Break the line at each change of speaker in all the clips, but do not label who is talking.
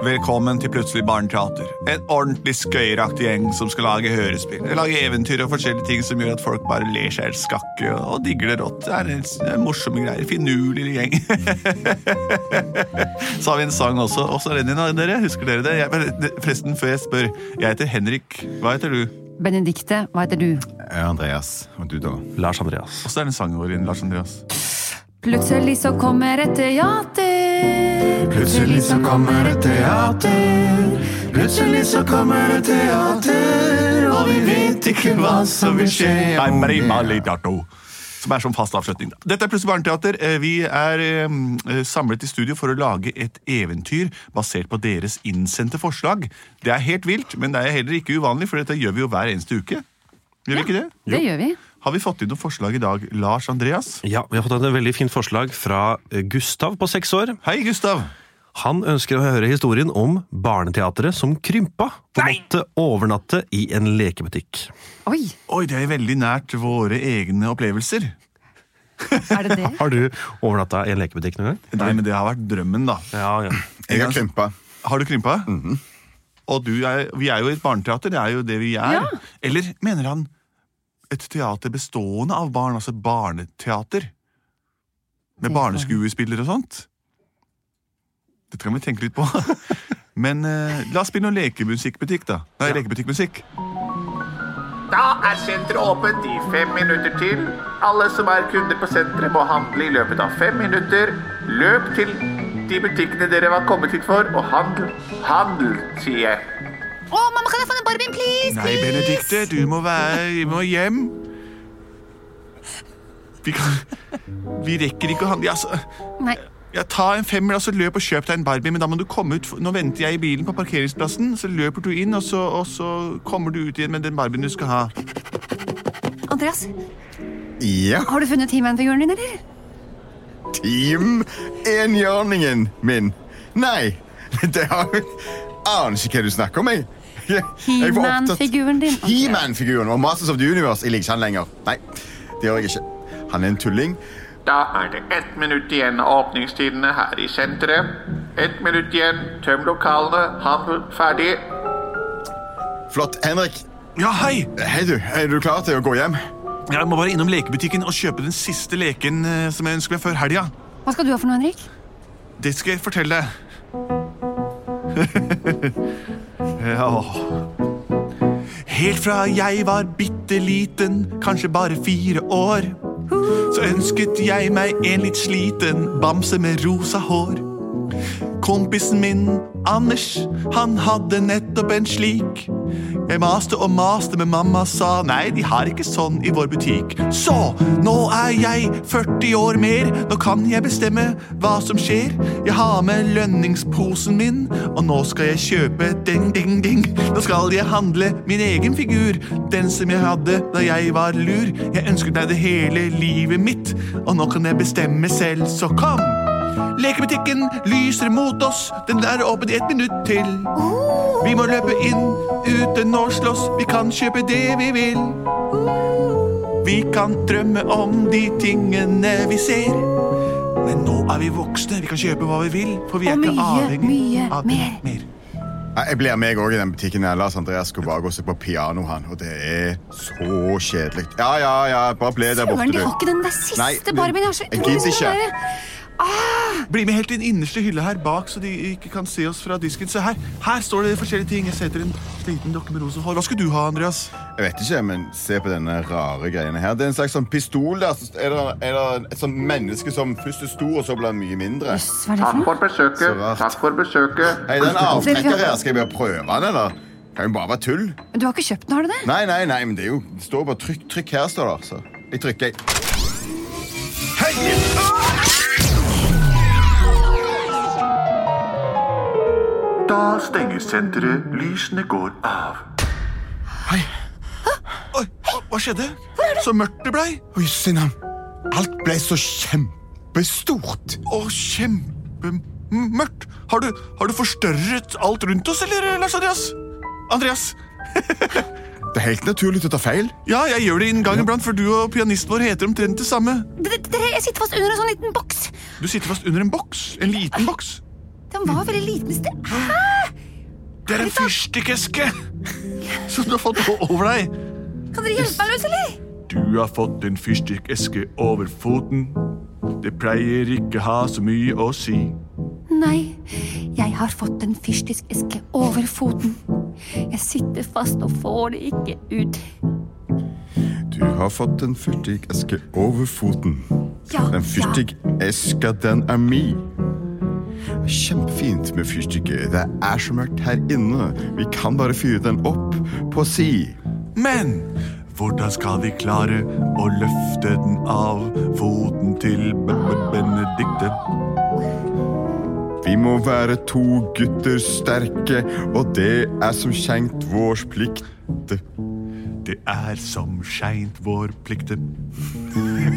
Velkommen til Plutselig barneteater. En ordentlig skøyeraktig gjeng som skal lage hørespill. Lage eventyr og forskjellige ting som gjør at folk bare ler seg helt skakke og og digger det rått. Det er en s- en morsomme greier. Finurlig gjeng. så har vi en sang også. Også Lenin, dere. Husker dere det? Jeg, men det- forresten, før jeg spør. Jeg heter Henrik. Hva heter du?
Benedikte, hva heter du?
Ja, Andreas, og du da?
Lars Andreas.
Også er den sangen vår, Lars Andreas.
Plutselig så kommer et teater.
Plutselig så kommer et teater. Plutselig så kommer et teater, og vi vet ikke hva som vil skje.
Nei,
om
Marie
det-
Malidato. Som er som fast avslutning. da. Dette er Plutselig barneteater. Eh, Vi er eh, samlet i studio for å lage et eventyr basert på deres innsendte forslag. Det er helt vilt, men det er heller ikke uvanlig, for dette gjør vi jo hver eneste uke. Gjør vi ikke det?
Det gjør vi.
Har vi fått inn noen forslag i dag, Lars Andreas?
Ja, Vi har fått et veldig fint forslag fra eh, Gustav på seks år.
Hei, Gustav.
Han ønsker å høre historien om barneteatret som krympa og måtte overnatte i en lekebutikk.
Oi,
Oi, det er veldig nært våre egne opplevelser.
er det det?
Har du overnatta i en lekebutikk noen gang?
Nei, men det har vært drømmen, da.
Ja, ja.
Jeg har krympa.
Har du krympa? Og du er, vi er jo et barneteater, det er jo det vi er.
Ja.
Eller mener han et teater bestående av barn, altså et barneteater? Med
Det kan-
barneskuespillere og sånt? Dette kan vi tenke litt på. Men eh, la oss spille noe lekemusikkbutikk, da. Nei, lekebutikkmusikk.
Da er senteret åpent i fem minutter til. Alle som er kunder på senteret må handle i løpet av fem minutter. Løp til de butikkene dere var kommet hit for, og handel. Handel, sier jeg.
Å, mamma, kan jeg få en Barbie, please?
Nei, Benedikte, du må være vi må hjem. Vi kan Vi rekker ikke å handle Ja, altså
Nei.
Ja, ta en femmer, og så løp og kjøp deg en Barbie, men da må du komme ut. Nå venter jeg i bilen på parkeringsplassen, så løper du inn, og så, og så kommer du ut igjen med den Barbien du skal ha.
Andreas,
Ja,
har du funnet He-Man-figuren din, eller?
team enhjørningen min. Nei, det har jeg Aner ikke hva du snakker om, jeg. Jeg- jeg var opptatt-
He-Man-figuren din.
He-Man-figuren og Masters of the Universe. Jeg liker ikke han lenger. Nei, det gjør jeg ikke. Han er en tulling.
Da er det ett minutt igjen av åpningstidene her i senteret. Ett minutt igjen. Tøm lokalene. Handel ferdig.
Flott. Henrik,
Ja, hei!
hei du. er du klar til å gå hjem?
Jeg må bare innom lekebutikken og kjøpe den siste leken eh, som jeg ønsker meg før helga.
Hva skal du ha for noe, Henrik?
Det skal jeg fortelle deg. ja. Helt fra jeg var bitte liten, kanskje bare fire år, så ønsket jeg meg en litt sliten bamse med rosa hår. Kompisen min, Anders, han hadde nettopp en slik. Jeg maste og maste, men mamma sa nei, de har ikke sånn i vår butikk. Så nå er jeg 40 år mer, nå kan jeg bestemme hva som skjer. Jeg har med lønningsposen min, og nå skal jeg kjøpe ding, ding, ding. Nå skal jeg handle min egen figur, den som jeg hadde da jeg var lur. Jeg ønsket meg det hele livet mitt, og nå kan jeg bestemme selv, så kom! Lekebutikken lyser mot oss, den er åpen i ett minutt til. Vi må løpe inn uten å slåss. Vi kan kjøpe det vi vil. Vi kan drømme om de tingene vi ser. Men nå er vi voksne. Vi kan kjøpe hva vi vil, for vi er
Og
ikke
mye,
avhengig
mye
av
mer.
mer.
Ja, Jeg blir med også i den butikken. der. Lars Andreas skulle bare gå og se på piano, han. Og det er så kjedelig. Ja, ja, ja, bare ble Eh, der borte,
Søren,
du.
de har ikke den der
Nei,
siste
du-
Barbien. Jeg har så
jeg gidder
utrolig lyst til
ikke. Eh.
den der.
Bli med helt til den innerste hylla her bak, så de ikke kan se oss fra disken. Se her, her står det forskjellige ting. Jeg ser etter en sliten dokke med rosa hår. Hva skulle du ha, Andreas?
Jeg vet ikke, men se på denne rare greiene her. Det er en slags sånn pistol der. Så er det, er det et sånt menneske som først er stor, og så blir han mye mindre?
Jøss, Hva er det
Takk
for noe?
for besøket.
Så rart.
Takk for besøket.
Hei, den avtrekker her. Skal jeg bare prøve den, eller? Kan jo bare være tull.
Men Du har ikke kjøpt den, har du det?
Nei, nei, nei, men det er jo det står bare trykk, trykk her, står det. Så jeg trykker. jeg.
Da stenger senteret. Lysene går av.
Oi, hva- hva skjedde? Så mørkt det blei.
Oi, Sinan. Alt ble så kjempestort.
Å, kjempemørkt. Har du, har du forstørret alt rundt oss, eller, Lars Andreas? Andreas,
Det er helt naturlig å ta feil.
ja, jeg gjør det en gang iblant, for du og pianisten vår heter omtrent det samme.
D- d- Dere, jeg sitter fast under en sånn liten boks.
Du sitter fast under en boks. En liten boks.
Den var veldig liten i sted. Hæ?
Det er en fyrstikkeske som du har fått over deg.
Kan dere hjelpe meg løs, eller?
Du har fått en fyrstikkeske over foten. Det pleier ikke ha så mye å si.
Nei, jeg har fått en fyrstikkeske over foten. Jeg sitter fast og får det ikke ut.
Du har fått en fyrstikkeske over foten.
Ja,
Den fyrstikkeska, den er min. Kjempefint med fyrstikker. Det er så mørkt her inne. Vi kan bare fyre den opp på si.
Men hvordan skal vi klare å løfte den av foten til B -B Benedikte?
Vi må være to gutter sterke, og det er som kjent vår plikt.
Det er som skeint vår plikte.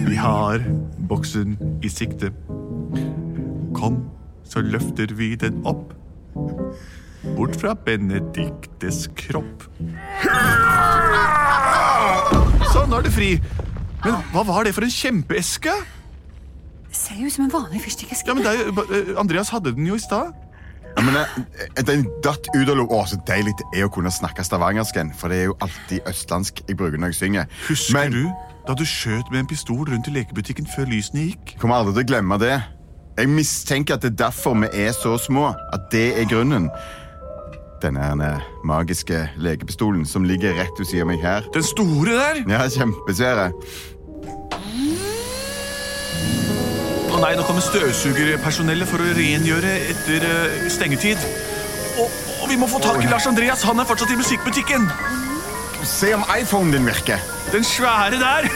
Vi har boksen i sikte. Kom, så løfter vi den opp. Bort fra Benediktes kropp. Sånn, nå er det fri. Men hva var det for en kjempeeske?
Det ser jo ut som en vanlig fyrstikkeske.
Ja, men det er, jo- eh, Andreas hadde den jo i stad.
Ja, men jeg, Den datt ut av lo... Å, så deilig det er å kunne snakke stavangersken, for det er jo alltid østlandsk jeg bruker når jeg synger.
Husker
men
du da du skjøt med en pistol rundt i lekebutikken før lysene gikk?
kommer aldri til å glemme det. Jeg mistenker at det er derfor vi er så små, at det er grunnen. Denne herne magiske lekepistolen som ligger rett ved siden av meg her.
Den store der?
Ja, kjempesvære.
Å nei, nå kommer støvsugerpersonellet for å rengjøre etter eh, stengetid. Og, og vi må få tak i Lars Andreas, han er fortsatt i musikkbutikken.
Se om iPhonen din virker.
Den svære der.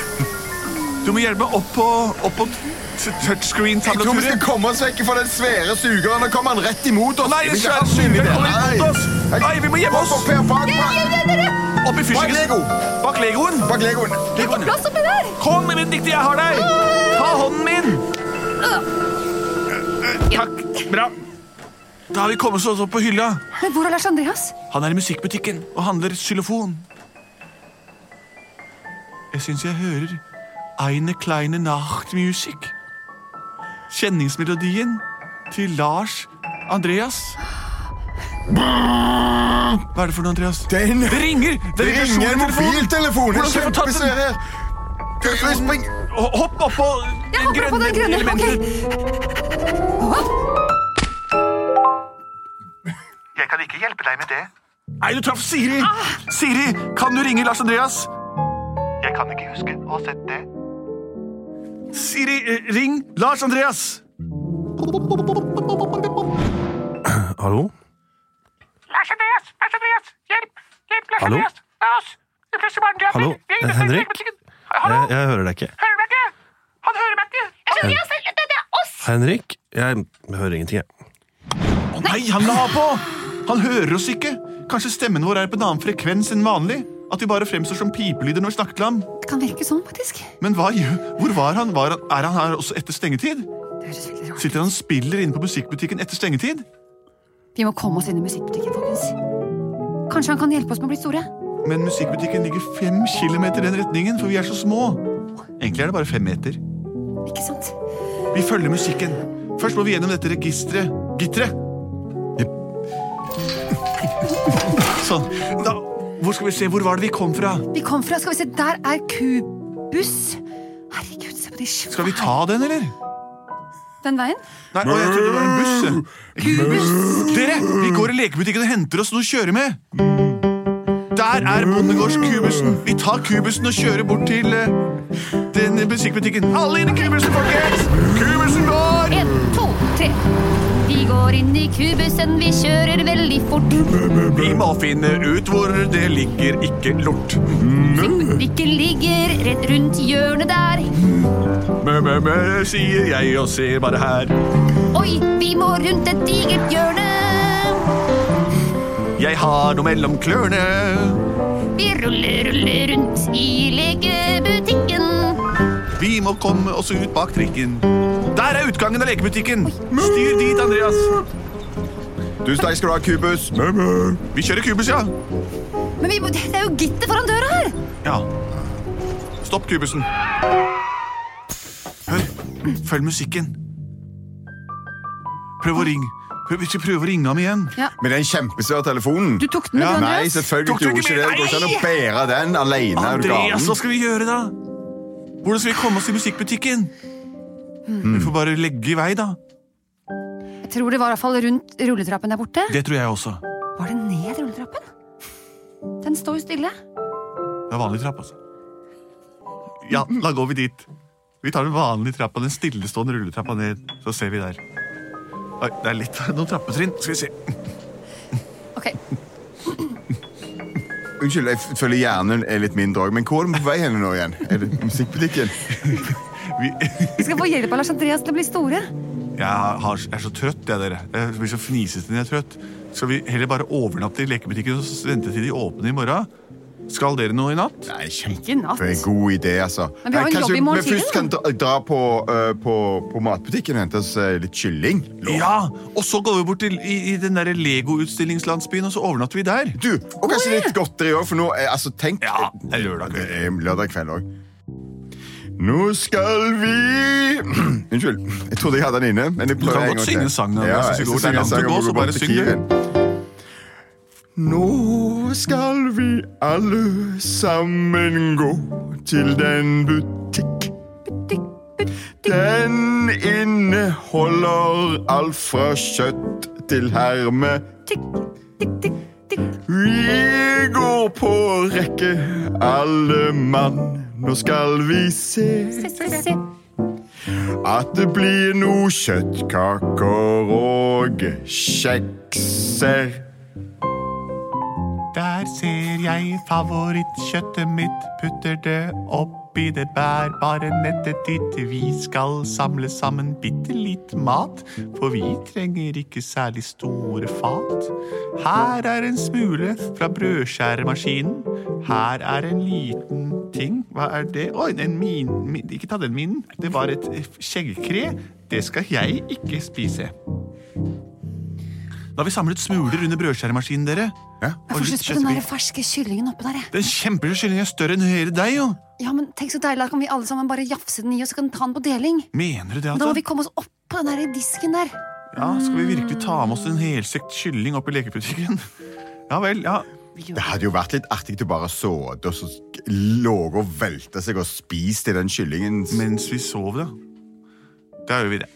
Du må hjelpe meg opp på, opp på t-
Jeg tror vi skal
touchscreen-tablaturet.
komme oss vekk fra den svære sugeren. Nå kommer han rett imot oss.
Nei, den
Vi
svære
skal ha skyld i
sugeren
det.
kommer imot
Nei.
oss. Nei, vi må gjemme
Bak
oss.
opp her, bak, bak,
Opp i
bak Lego.
fyrstikkesten. Bak legoen.
Bak Legoen.
Legoen.
Plass oppi der!
Kom, min dikte, jeg har deg. Ta hånden min. Takk. Bra. Da har vi kommet oss opp på hylla.
Men hvor er Lars Andreas?
Han er i musikkbutikken og handler xylofon. Jeg syns jeg hører Eine kleine Nachtmusik. Kjenningsmelodien til Lars Andreas. Hva er det for noe, Andreas?
Det er en-
Det ringer! Det
Det
ringer
ringer en mobiltelefon.
Hvordan
En
skal vi få tatt den?
kjempesvær her. Kan vi springe?
Hopp oppå
Jeg hopper opp på den grønne. Ok. Å,
Jeg kan ikke hjelpe deg med det.
Nei, du traff Siri! Siri, kan du ringe Lars Andreas?
Jeg kan ikke huske å ha sett det.
Siri, eh, ring Lars Andreas!
Hallo?
Lars Andreas! Lars Andreas! Hjelp! Hjelp, Lars
Hallo?
Andreas! Det er oss! Det fleste barndraper!
Hallo,
Vi er inne
eh,
i
Henrik?
legebutikken. Hallo?
Jeg, jeg hører deg ikke.
Hører du meg ikke? Han hører meg ikke! Lars Andreas, det, er oss!
Henrik? Jeg hører ingenting, jeg.
Å nei, han la på! Han hører oss ikke. Kanskje stemmen vår er på en annen frekvens enn vanlig? At vi bare fremstår som pipelyder når vi snakker til ham?
Det kan virke sånn, faktisk.
Men hva gjør Hvor var han? Var han? Er han her også etter stengetid?
Det høres veldig rart ut.
Sitter han og spiller inne på musikkbutikken etter stengetid?
Vi må komme oss inn i musikkbutikken, folkens. Kanskje han kan hjelpe oss med å bli store?
Men musikkbutikken ligger fem kilometer i den retningen, for vi er så små. Egentlig er det bare fem meter.
Ikke sant?
Vi følger musikken. Først må vi gjennom dette registeret. Gitteret. Sånn. Da, hvor skal vi se? Hvor var det vi kom fra?
Vi kom fra Skal vi se, der er kubus. Herregud, se på de svære
Skal vi ta den, eller?
Den veien?
Nei, å, jeg trodde det var en buss. jeg.
Kubus!
Dere, vi går i lekebutikken og henter oss noe å kjøre med. Der er bondegårdskubussen. Vi tar kubussen og kjører bort til eh, den musikkbutikken. Alle inn i kubussen, folkens! Kubussen går!
En, to, tre. Vi går inn i kubussen, vi kjører veldig fort.
Vi må finne ut hvor det ligger ikke lort.
Butikken ligger rett rundt hjørnet der.
Mø, mø, mø, sier jeg og ser bare her.
Oi, vi må rundt et digert hjørne.
jeg har noe mellom klørne.
Vi ruller, ruller rundt i lekebutikken.
Vi må komme oss ut bak trikken. Der er utgangen av lekebutikken! Styr dit, Andreas.
Tusen takk skal du ha, Kubus.
Vi kjører kubus, ja.
Men vi, må- det er jo gitter foran døra her!
Ja. Stopp kubusen. Hør. Følg musikken. Prøv å ringe. Prøv, vi skal prøve å ringe ham igjen.
Med den kjempesvære telefonen.
Du tok den, du,
Nei,
Andreas.
selvfølgelig
Tok du
gjorde
ikke
ikke det. Det går ikke an å bære den alene. er du
Andreas, hva
galen?
skal vi gjøre da? Hvordan skal vi komme oss til musikkbutikken? Vi får bare legge i vei, da.
Jeg tror det var i hvert fall rundt rulletrappen der borte.
Det tror jeg også.
Var det ned rulletrappen? Den står jo stille.
Det er vanlig trapp, altså. Ja, da går vi dit. Vi tar den vanlige trappa, den stillestående rulletrappa ned, så ser vi der. Oi, det er litt noen trappetrinn. Skal vi se.
Ok,
Unnskyld, jeg f- føler hjernen er litt mindre òg. Men hvor er vi på vei hen nå igjen? Er det musikkbutikken?
Vi...
Vi skal få hjelp av Lars Andreas til å bli store.
Jeg, har, jeg er så trøtt, jeg, dere. Jeg blir så fnisete når jeg er trøtt. Skal vi heller bare overnatte i lekebutikken og s- vente til de åpner i morgen? Skal dere noe i natt?
Nei,
Ikke i natt.
kjempegod idé, altså.
Men vi har en
Nei, kanskje
jobb i morgen
vi først
tidlig,
kan dra, dra på, eh, på, på matbutikken og hente oss eh, litt kylling. Lov.
Ja! Og så går vi bort til i, i den der Lego-utstillingslandsbyen, og så overnatter vi der.
Du, og kanskje litt godteri òg, for nå eh, altså, tenk,
Ja, det er lørdag
Det
kveld.
er lørdag kveld òg. Nå skal vi Unnskyld. Jeg trodde jeg hadde den inne. men jeg
kan
prøver en
godt
gang til.
synge sangen, Anders, hvis
jeg
du går
skal
der langt
synge
du
sangen
går,
hvor
så
går
bare
til
syng den.
Kiwien. Nå skal vi alle sammen gå til den butikk. Den inneholder alt fra kjøtt til herme. Vi går på rekke, alle mann. Nå skal vi se at det blir noe kjøttkaker og kjekser.
Der ser jeg favorittkjøttet mitt, putter det oppi det bærbare nettet ditt. Vi skal samle sammen bitte litt mat, for vi trenger ikke særlig store fat. Her er en smule fra brødskjæremaskinen. Her er en liten ting. Hva er det? Oi, en min, min Ikke ta den minen. Det var et eh, skjeggkre. Det skal jeg ikke spise. Da har vi samlet smuler under brødskjæremaskinen, dere.
Ja.
Og
Få
litt
slutt på den
kjøttbit.
der ferske kyllingen oppå der. jeg.
Den kjempestore kyllingen er større enn hele deg, jo.
Ja, men tenk så deilig, da kan vi alle sammen bare jafse den i, og så kan vi ta den på deling.
Mener du det,
Da må
altså?
vi komme oss opp på den der disken der.
Ja, skal vi virkelig ta med oss en helsekt kylling opp i lekebutikken? Ja vel, ja.
Det hadde jo vært litt artig til bare å såde og så låge og velte seg og spise i den kyllingen.
Mens vi sov, da. Da gjør vi det.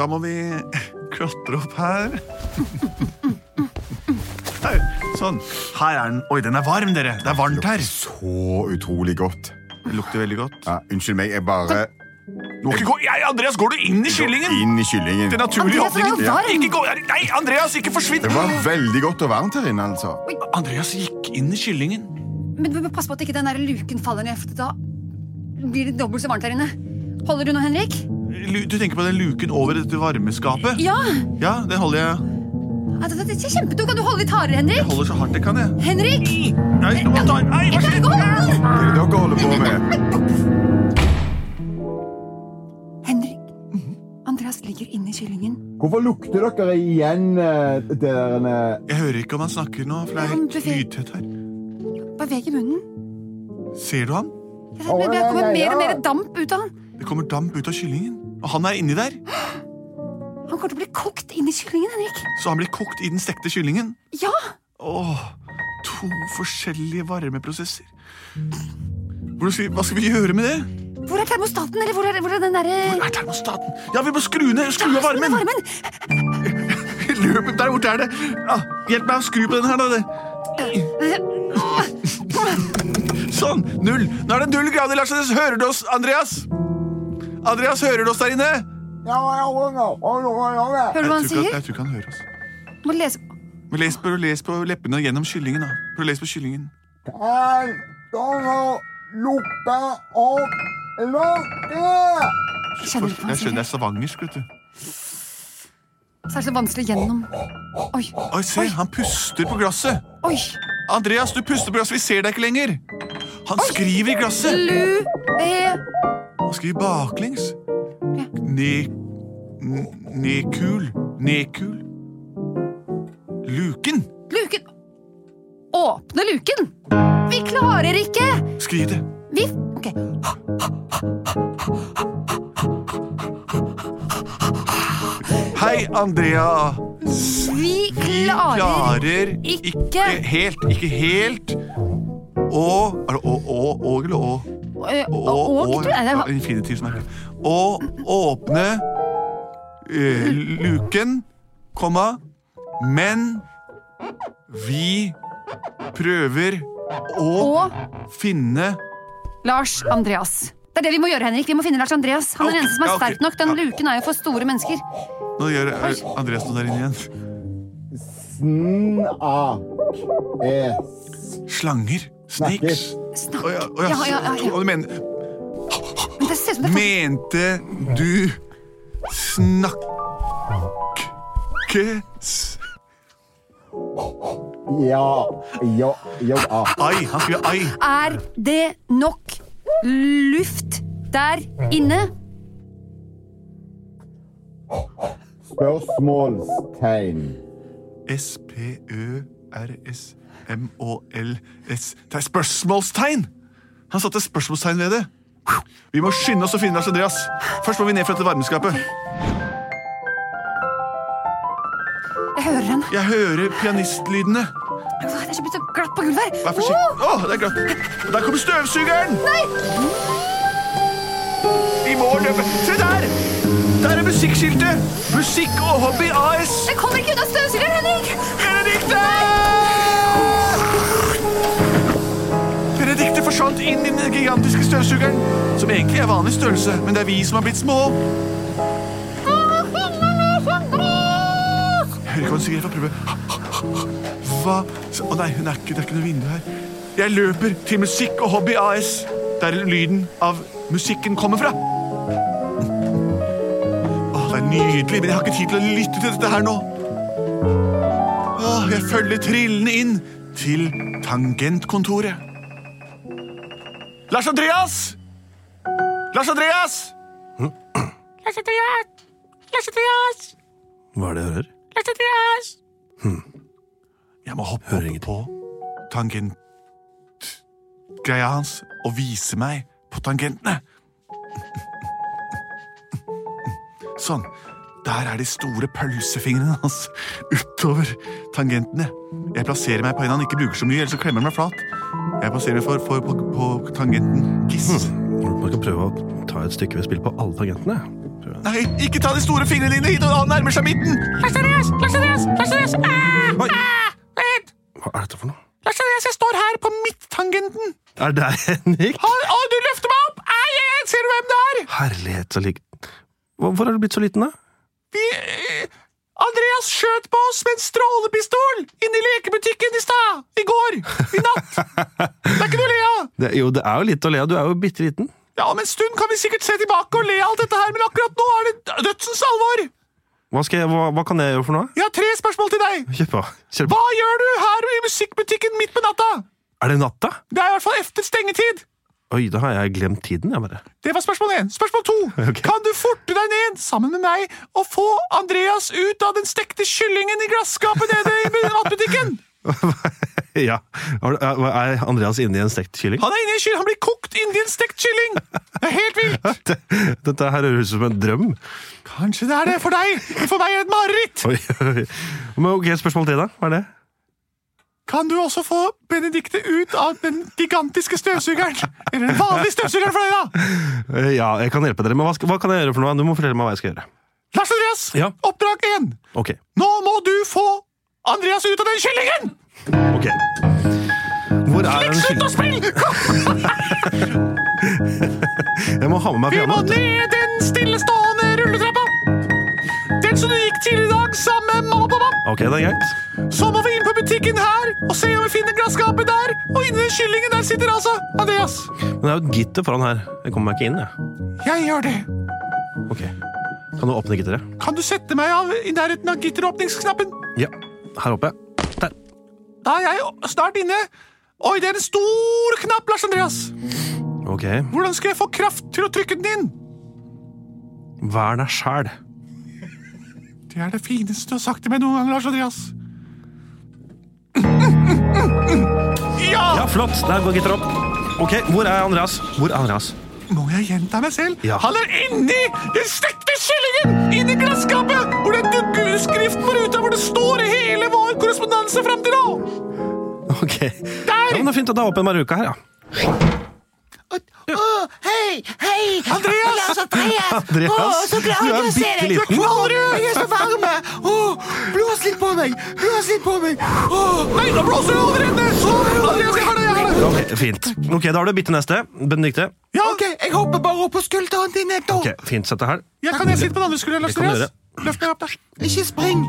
Da må vi klatre opp her. Der, sånn. Her er den. Oi, den er varm, dere. Det er varmt her.
Så utrolig godt.
Det lukter veldig godt.
Ja, unnskyld meg, jeg bare
Du må ikke gå Jeg, Andreas, går du inn i kyllingen?
inn i kyllingen.
Det er naturlig
Andreas, den er jo
åpning.
varm.
Ikke gå Nei, Andreas, ikke forsvinn!
Det var veldig godt og varmt her inne, altså.
Andreas gikk inn i kyllingen.
Men vi må passe på at ikke den der luken faller ned, for da blir det dobbelt så varmt der inne. Holder du nå, Henrik?
Lu- Du tenker på den luken over dette varmeskapet?
Ja!
Ja, det holder jeg.
Ja, Det det- det er kjempetungt. Kan du holde litt hardere, Henrik?
Jeg holder så hardt jeg kan, jeg.
Henrik!
Nei, nå må jeg ta Nei, hva
Jeg kan
skjer?
ikke holde den!
Hva er det dere holder på med?
Henrik, Andreas ligger inni kyllingen.
Hvorfor lukter dere igjen det der
Jeg hører ikke om han snakker nå, for det er
Han
helt
beveger-
lydtett her.
Beveg i munnen.
Ser du han?
Det er- det kommer mer og mer damp ut av han.
Det kommer damp ut av kyllingen. Og han er inni der,
Han kommer til å bli kokt inni kyllingen, Henrik.
så han blir kokt i den stekte kyllingen.
Ja!
Åh, to forskjellige varmeprosesser. Hvordan skal vi, hva skal vi gjøre med det?
Hvor er termostaten, eller hvor er, hvor er den derre
Er termostaten Ja, vi må skru ned! Skru av
Hvor er
varmen!
varmen?
Løp der borte er det! Ah, hjelp meg å skru på den her, da. det. Sånn! Null! Nå er det null grader, Lars. Andreas. Hører du oss, Andreas? Andreas, hører du oss der inne?
Hører du hva
tror
han
ikke,
sier?
jeg tror ikke han hører oss.
Må lese
Men les på, les på leppene og gjennom kyllingen, da. Prøv å lese på kyllingen.
Skjønner du hva han
Jeg skjønner det
sier?
er stavangersk, vet du.
Så er det så vanskelig gjennom. Oi,
Oi, se, han puster på glasset.
oi!
Andreas, du puster på glasset. Vi ser deg ikke lenger. Han skriver i glasset.
Lu... E...
Han skriver baklengs. Ne... n- Nekul. Nekul. Luken.
Luken Åpne luken! Vi klarer ikke!
Skriv det.
Vi Ok.
Hei, Andrea.
Vi
Vi
klarer
klarer
ikke.
ikke helt, ikke helt Å Er det å, å, å eller å?
Ø,
Å,
Eh, å- Åk,
å-
tror
ja,
jeg. Det-
Infinitiv som er Å åpne eh, luken, komma, men vi prøver å
Og
finne
Lars Andreas. Det er det vi må gjøre, Henrik. Vi må finne Lars Andreas. Han er den
Ok,
eneste som er
ja, ok.
sterk nok. Den
Ja.
luken er jo for store mennesker.
Nå gjør eh, Andreas noe der inne igjen.
Snak.
Slanger. Snakes.
Snakk.
Å ja, å ja,
Ja, ja, ja, ja.
å, du mener-
Men det ser ut som det er
Mente du snakke s-
Ja. Ja. Ja.
Ai, han skriver ai.
Er det nok luft der inne?
Spørsmålstegn.
S-P-Ø-R-S-M-Å-L-S Det er spørsmålstegn! Han satte spørsmålstegn ved det. Vi må skynde oss å finne Lars Andreas. Først må vi ned fra dette varmeskapet.
Jeg hører den.
Jeg hører pianistlydene.
Åh, Det er så blitt så glatt på gulvet her.
Vær forsiktig. Å, det er glatt. Og Der kommer støvsugeren! Nei! Vi må løpe. Se der! Der er musikkskiltet! Musikk og hobby AS.
Åh, Jeg kommer ikke unna støvsugeren, Henrik!
Benedikte! Benedikte forsvant inn i den gigantiske støvsugeren, som egentlig er vanlig størrelse, men det er vi som har blitt små. Jeg hører ikke hva hun sier, jeg får prøve. Hva? Å nei, hun er ikke, det er ikke noe vindu her. Jeg løper til Musikk og Hobby AS, der lyden av musikken kommer fra. Åh, det er nydelig, men jeg har ikke tid til å lytte til dette her nå. Åh, jeg følger trillene inn til tangentkontoret. Lars Andreas! Lars Andreas!
Lars Andreas! Lars Andreas!
Hva er det jeg hører?
Lars Andreas!
Jeg må hoppe
Hører
opp
ingenting.
på tangentgreia hans og vise meg på tangentene. Sånn. Der er de store pølsefingrene hans utover tangentene. Jeg plasserer meg på en han ikke bruker så mye, ellers så klemmer han meg flat. Jeg plasserer meg for, for, på, på tangenten
Hmm.
giss.
Man kan prøve å ta et stykke ved spill på alle tangentene. Prøve.
Nei, ikke ta de store fingrene dine hit, og han nærmer seg midten!
Lars Andreas! Lars Andreas! Lars Andreas! Ah!
Oi.
Ah! Vent!
Hva er dette for noe?
Lars Andreas, jeg står her på midttangenten.
Er det deg, Henrik?
Å, å, du løfter meg opp! Ai, jeg ser du hvem det er?
Herlighet, så lik... Hvor hvor har du blitt så liten, da?
Vi eh, Andreas skjøt på oss med en strålepistol inne i lekebutikken i stad. I går. I natt. Det er ikke noe å le av.
Det, jo, det er jo litt å le av. Du er jo bitte liten.
Ja, om en stund kan vi sikkert se tilbake og le av alt dette her, men akkurat nå er det dødsens alvor.
Hva, skal jeg, hva, hva kan jeg gjøre for noe?
Jeg har tre spørsmål til deg.
Kjør på. Kjør på.
Hva gjør du her i musikkbutikken midt på natta?
Er det natta?
Det er i hvert fall efter stengetid.
Oi, da har jeg glemt tiden, jeg bare.
Det var spørsmål én. Spørsmål to.
Ok.
Kan du forte deg ned sammen med meg og få Andreas ut av den stekte kyllingen i glasskapet nede i matbutikken?
ja. Har du- Er er Andreas inne i en stekt kylling?
Han er inne i kyll, han blir kokt inni en stekt kylling! Det er helt vilt!
Dette, dette her høres ut som en drøm.
Kanskje det er det for deg, men for meg er det et mareritt!
Oi, oi. Men ok, spørsmål til, da. Hva er det?
Kan du også få Benedikte ut av den gigantiske støvsugeren? Eller den vanlige støvsugeren for deg, da!
Eh, Ja, jeg kan hjelpe dere, men hva, skal, hva kan jeg gjøre for noe? Du må fortelle meg hva jeg skal gjøre.
Lars Andreas,
Ja.
oppdrag én!
Ok,
Nå må du få Andreas ut av den kyllingen!
ok. Hvor er den
Slutt å
kylling?
spille!
Jeg må ha med meg
Vi må
pianoet.
ned den stillestående rulletrappa! Den som du gikk til i dag sammen med mamma og pappa!
Ok, det er greit.
Så må vi inn på butikken her og se om vi finner glasskapet der. Og inni den kyllingen der sitter altså Andreas.
Men det er jo et gitter foran her. Jeg kommer meg ikke inn, jeg.
Jeg gjør det.
Ok. Kan du åpne gitteret?
Kan du sette meg av i nærheten av gitteråpningsknappen?
Ja. Her oppe. Der.
Da er jeg snart inne. Oi, det er en stor knapp, Lars Andreas.
Ok.
Hvordan skal jeg få kraft til å trykke den inn?
Vær deg sjæl.
Det er det fineste du har sagt til meg noen gang, Lars Andreas.
Ja, flott! Der går gitteret opp. Ok, Hvor er Andreas? Hvor er Andreas?
Må jeg gjenta meg selv?
Ja.
Han er inni den stekte kyllingen! Inni glasskapet! Hvor det dukker skriften på ruta hvor det står hele vår korrespondanse fram til nå!
Ok. Ja, men det er fint at det er åpen hver uke her, ja.
hei, hei!
Andreas!
Lars Andreas!
Andreas,
Å, så glad
du er
jeg å se deg!
bitteliten.
Du er kvalm! Jeg er så varm! Åh, blås litt på meg! Blås litt på meg! Åh,
Nei, nå blåser jeg over ende! Så, Andreas, jeg har det, jeg har det!
Ok, Fint. Ok, Da har du bitte neste. Benedikte.
Ja,
Ok, jeg hopper bare opp på skulderen din, Netto.
Ok, Fint. Sett deg her.
jeg kan jeg sitte på den andre skulderen, Lars
Det kan du
Andreas? Løft meg opp, da.
Ikke spring!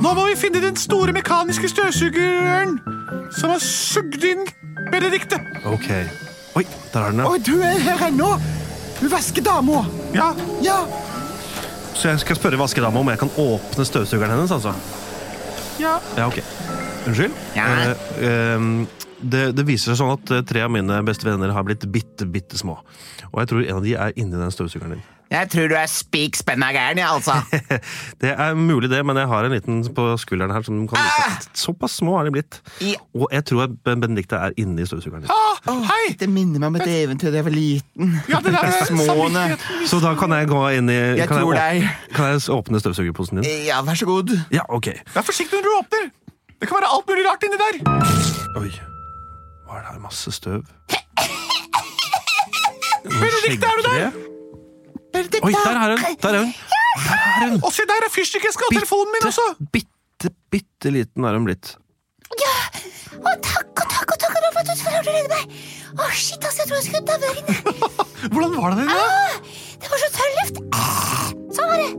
Nå må vi finne den store mekaniske støvsugeren som har sugd inn Benedikte.
Ok. Oi, der er den, ja.
Og du er her ennå! Du vasker dama!
Ja,
Ja,
Så jeg skal spørre vaskedama om jeg kan åpne støvsugeren hennes, altså.
ja.
Ja, ok. Unnskyld?
Ja.
Eh, ehm, det, det viser seg sånn at eh, tre av mine beste venner har blitt bitte, bitte små. Og jeg tror en av de er inni den støvsugeren din.
jeg tror du er spikspenna gæren, jeg, altså.
Det er mulig, det, men jeg har en liten på skulderen her. som kan vise. at Såpass små har de blitt.
Ja.
Og jeg tror at Ben- Benedicte er inni støvsugeren din.
Ah, hei!
Det minner meg om et eventyr da jeg var liten.
Ja, det der er
Småene.
samvittigheten.
Så da kan jeg gå inn i
Jeg
kan,
tror
jeg
deg. Eh.
åpne, kan jeg åpne støvsugerposen din?
Ja, vær så god.
Ja, ok.
Vær forsiktig når du åpner. Det kan være alt mulig rart inni der.
Oi. Hva er det her? Masse støv.
Benedikte, er du der?
Oi, der er hun! Der er hun. Der er hun.
Og se, der er fyrstikkeska og telefonen min også.
bitte, bitte liten er hun blitt.
Ja! Å, takk og takk og takk og takk for at du klarte å redde meg! Å, shit, altså, jeg tror jeg skulle dabbe der inne.
Hvordan var det dere?
Ah!
Å, det var så tørr luft. Sånn var det.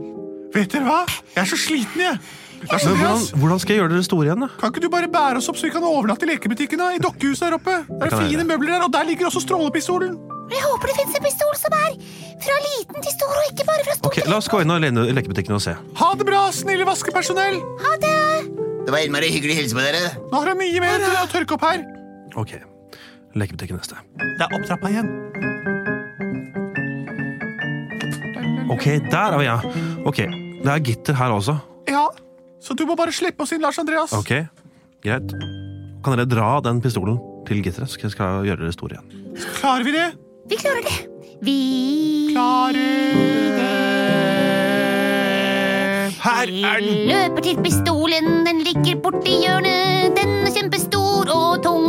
Vet dere hva? Jeg er så sliten, jeg. Lars
Men hvordan,
Andreas,
hvordan skal jeg gjøre dere store igjen, da?
kan ikke du bare bære oss opp så vi kan overnatte i lekebutikken? da? I dokkehuset der oppe. Det er
kan jeg
fine
gjøre.
møbler der, og der ligger også strålepistolen.
Jeg håper det fins en pistol som er fra liten til stor, og ikke bare fra stor
Ok, La oss gå inn og lene- i lekebutikken og se.
Ha det bra, snille vaskepersonell.
til Ha det!
Det var innmari hyggelig å hilse på dere.
Nå har jeg mye mer å tørke opp her.
Ok, Lekebutikken neste.
Det er opptrappa igjen.
Ok, der er vi, ja. Ok, Det er gitter her også.
Ja, så du må bare slippe oss inn, Lars Andreas.
Ok, Greit. Kan dere dra den pistolen til gitteret, så skal jeg gjøre dere store igjen?
Klarer vi det?
Vi klarer det. Vi
Klarer Her er den!
løper til pistolen, den ligger borti hjørnet. Den er kjempestor og tung.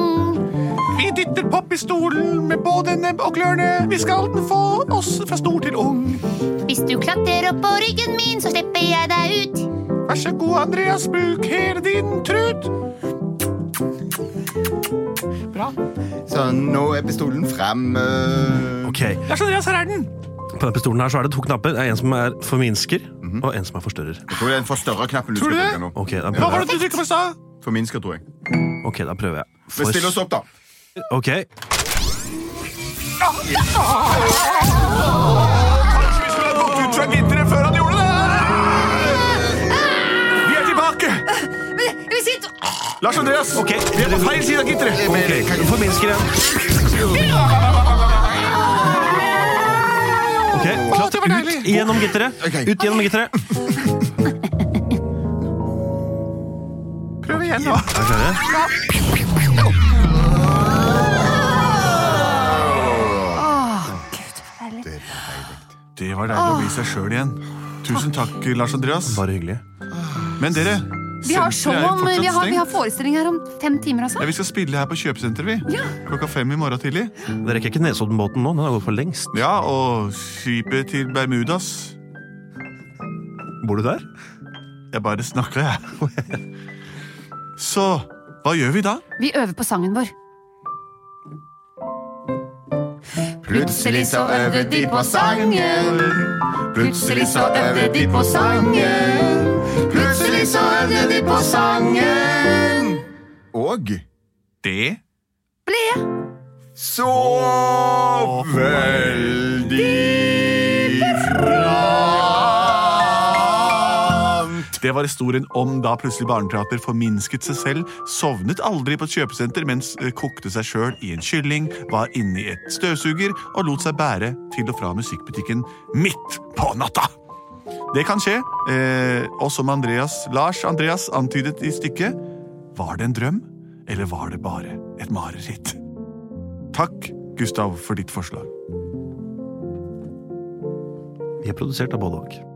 Vi dytter pistolen med både nebb og klørne. Vi skal den få oss fra stor til ung.
Hvis du klatrer opp på ryggen min, så slipper jeg deg ut.
Vær så god, Andreas, bruk hele din trut. Bra.
Så nå er pistolen frem. øh.
Ok,
Lars Andreas, her er den!
På den pistolen her så er det to knapper. Det er En som er forminsker, og en som Mhm. er forstørrer.
Jeg tror det er den forstørra knappen du
Tror
skal
du
bruke
det?
nå.
Ok, da
Hva
prøver
var
jeg.
det du trykket på i stad?
Forminsker, tror jeg.
Ok, da prøver jeg.
Men still oss opp, da.
Ok,
Vi skulle ha gått ut fra gitteret før han gjorde det! Vi er tilbake!
Men jeg- jeg vil si t-
Lars Andreas, vi er på feil side av gitteret.
ok, Forminsker igjen. Ok, klart
det var
ut
deilig.
gjennom gitteret.
Ok.
Ut gjennom gitteret.
Prøv igjen nå.
Er dere klare?
Det var deilig å bli seg sjøl igjen. Tusen takk, Lars Andreas.
Bare hyggelig.
Men dere,
Vi har show
senteret er
om,
fortsatt
vi har, vi har
stengt.
forestilling her om fem timer, altså.
Ja, vi skal spille her på kjøpesenteret, vi. Klokka fem i morgen tidlig.
Det rekker ikke Nesoddenbåten nå. Den har gått for lengst.
Ja, og skipet til Bermudas.
Bor du der?
Jeg bare snakka, jeg. Så hva gjør vi da?
Vi øver på sangen vår.
Plutselig så øvde de på sangen. Plutselig så øvde de på sangen. Plutselig så øvde de på sangen. Og
Det
så veldig bra.
Det var historien om da plutselig barneteater forminsket seg selv, sovnet aldri på et kjøpesenter, mens eh, kokte seg sjøl i en kylling, var inne i et støvsuger og lot seg bære til og fra musikkbutikken midt på natta. Det kan skje, eh, og som Andreas, Lars Andreas antydet i stykket, var det en drøm, eller var det bare et mareritt? Takk, Gustav, for ditt forslag.
Vi er produsert av både og.